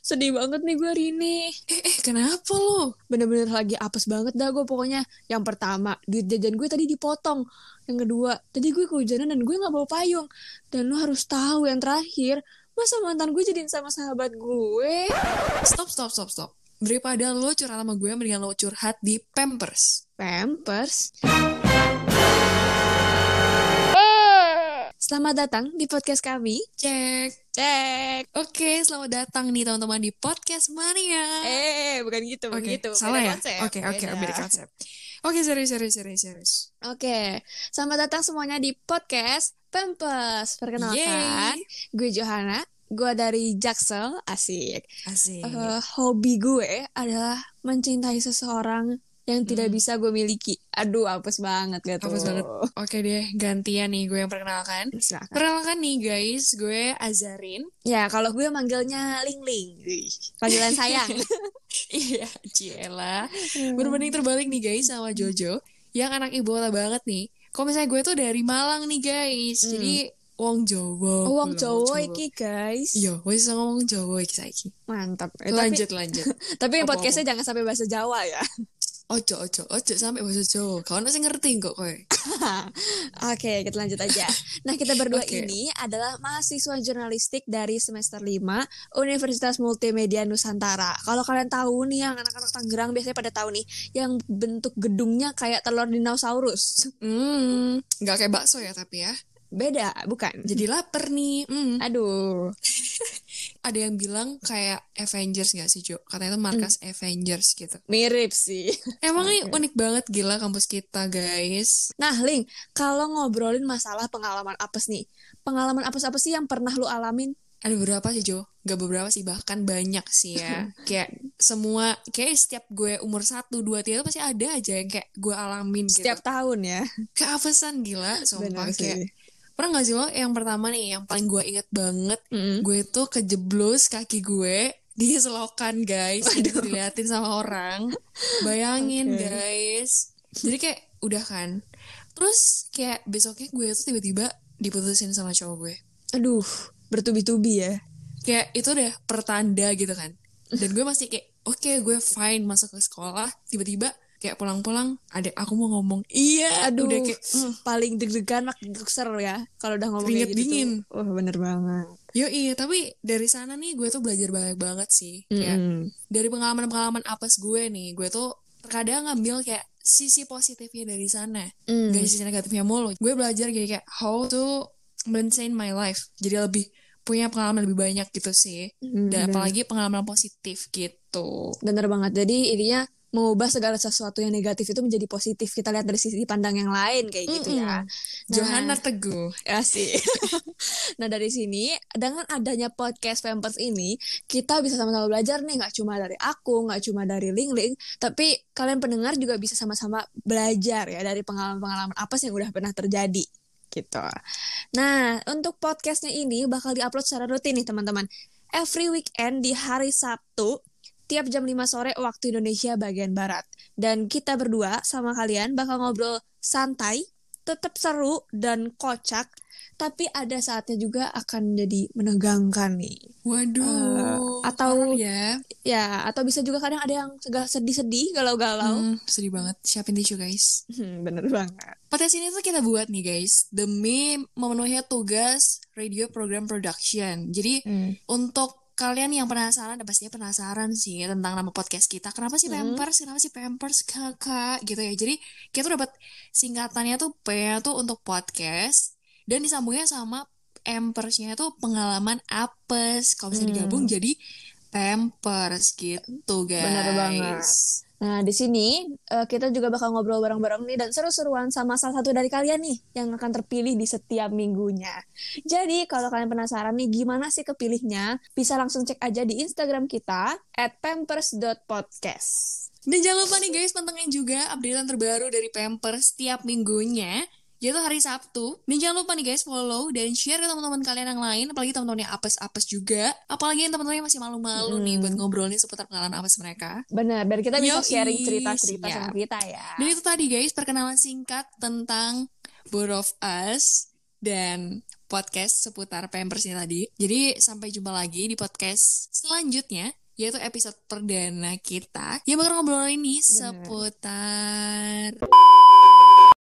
sedih banget nih gue hari ini. Eh, eh kenapa lo? Bener-bener lagi apes banget dah gue pokoknya. Yang pertama, duit jajan gue tadi dipotong. Yang kedua, tadi gue kehujanan dan gue gak bawa payung. Dan lo harus tahu yang terakhir, masa mantan gue jadiin sama sahabat gue? Stop, stop, stop, stop. Daripada lo curhat sama gue, mendingan lo curhat di Pampers. Pampers. Eh! Selamat datang di podcast kami. Cek. Cek. Oke, selamat datang nih teman-teman di Podcast Mania. Eh, bukan gitu, bukan Oke, gitu. salah Beda ya? konsep, Oke, oke, beda. beda konsep. Oke, serius, serius, serius, serius. Oke, selamat datang semuanya di podcast Pampers. Perkenalkan, gue Johanna, gue dari Jaksel, asik. Asik. Eh, hobi gue adalah mencintai seseorang yang tidak Hmm. bisa gue miliki. Aduh, apes banget gak tuh? Apes banget. Oke deh, gantian nih gue yang perkenalkan. Silakan. Perkenalkan nih guys, gue Azarin. Nah, Ya, kalau gue manggilnya Ling Ling. Panggilan sayang. Iya, Ciela. Berbanding terbalik nih guys sama Jojo, yang anak ibu kota banget nih. Kalau misalnya gue tuh dari Malang nih guys, Hmm. jadi wong Oh, Jawa. Uang Pulau cowok iki, guys. Iya, gue bisa ngomong Jawa iki saiki. Mantap. Eh, Lanjut, lanjut. Tapi, tapi Apa-apa. podcastnya jangan sampai bahasa Jawa ya. Ojo, ojo, ojo sampai bahasa Jawa. Kau nasi ngerti kok kowe. Oke, kita lanjut aja. Nah, kita berdua Oke. ini adalah mahasiswa jurnalistik dari semester 5 Universitas Multimedia Nusantara. Kalau kalian tahu nih yang anak-anak Tangerang biasanya pada tahu nih yang bentuk gedungnya kayak telur dinosaurus. Hmm, nggak kayak bakso ya tapi ya. Beda, bukan? Jadi lapar nih. Hmm. Aduh. Ada yang bilang kayak Avengers nggak sih Jo? Katanya itu markas Avengers gitu. Mirip sih. Emang ini Oke. unik banget gila kampus kita guys. Nah, Ling, kalau ngobrolin masalah pengalaman apes nih. Pengalaman apes-apa sih yang pernah lu alamin? Ada beberapa sih Jo, gak beberapa sih bahkan banyak sih ya. kayak semua, kayak setiap gue umur 1, 2, 3 itu pasti ada aja yang kayak gue alamin gitu. Setiap tahun ya. keapesan gila, sumpah. Benar Kayak, sih. pernah gak sih lo yang pertama nih, yang paling gue inget banget, Mm-mm. gue tuh kejeblos kaki gue di selokan guys, Jadi diliatin sama orang. Bayangin Oke. guys. Jadi kayak udah kan. Terus kayak besoknya gue tuh tiba-tiba diputusin sama cowok gue. Aduh, bertubi-tubi ya. kayak itu udah pertanda gitu kan dan gue masih kayak oke gue fine masuk ke sekolah tiba-tiba kayak pulang-pulang ada aku mau ngomong iya Aduh, udah kayak mm, paling deg-degan mak ser ya kalau udah ngomong kayak Keringet gitu. dingin. tuh. Wah, bener banget. yo iya tapi dari sana nih gue tuh belajar banyak banget sih Kayak Mm-mm. dari pengalaman-pengalaman apes gue nih gue tuh terkadang ngambil kayak sisi positifnya dari sana Mm. dari sisi negatifnya mulu gue belajar kayak kayak how to maintain my life jadi lebih punya pengalaman lebih banyak gitu sih Mm, bener. dan apalagi pengalaman positif gitu Bener banget. Jadi intinya mengubah segala sesuatu yang negatif itu menjadi positif. Kita lihat dari sisi pandang yang lain kayak gitu ya. Nah. Johanna Teguh. Asik. nah dari sini dengan adanya podcast Pampers ini kita bisa sama-sama belajar nih nggak cuma dari aku nggak cuma dari Ling Ling tapi kalian pendengar juga bisa sama-sama belajar ya dari pengalaman-pengalaman apa sih yang udah pernah terjadi gitu. Nah untuk podcastnya ini bakal diupload secara rutin nih teman-teman every weekend di hari Sabtu tiap jam 5 sore waktu Indonesia bagian barat dan kita berdua sama kalian bakal ngobrol santai tetap seru dan kocak tapi ada saatnya juga akan jadi menegangkan nih Waduh. Eh, atau- parah ya. ya atau bisa juga kadang ada yang sega- sedih-sedih galau-galau Hmm, sedih banget. Siapin tisu guys. Hmm, bener banget Podcast ini tuh kita buat nih guys demi memenuhi tugas radio program production. Jadi Hmm. untuk kalian yang penasaran dan pastinya penasaran sih tentang nama podcast kita kenapa sih Hmm. Pampers kenapa sih Pampers kakak gitu ya jadi kita tuh dapat singkatannya tuh P tuh untuk podcast dan disambungnya sama Pampersnya tuh pengalaman apes kalau bisa Hmm. digabung jadi Pampers gitu guys Bener banget. nah di sini eh, kita juga bakal ngobrol bareng-bareng nih dan seru-seruan sama salah satu dari kalian nih yang akan terpilih di setiap minggunya jadi kalau kalian penasaran nih gimana sih kepilihnya bisa langsung cek aja di Instagram kita at pampers.podcast dan jangan lupa nih guys pantengin juga updatean terbaru dari Pampers setiap minggunya yaitu hari Sabtu. Dan jangan lupa nih guys follow dan share ke teman-teman kalian yang lain, apalagi teman-teman yang apes-apes juga, apalagi yang teman-teman yang masih malu-malu nih Hmm. buat ngobrolin seputar pengalaman apes mereka. Benar, biar kita bisa Yoi, sharing cerita-cerita siap. sama kita ya. Dan itu tadi guys perkenalan singkat tentang Both of Us dan podcast seputar Pampers ini tadi. Jadi sampai jumpa lagi di podcast selanjutnya. yaitu episode perdana kita yang bakal ngobrolin nih seputar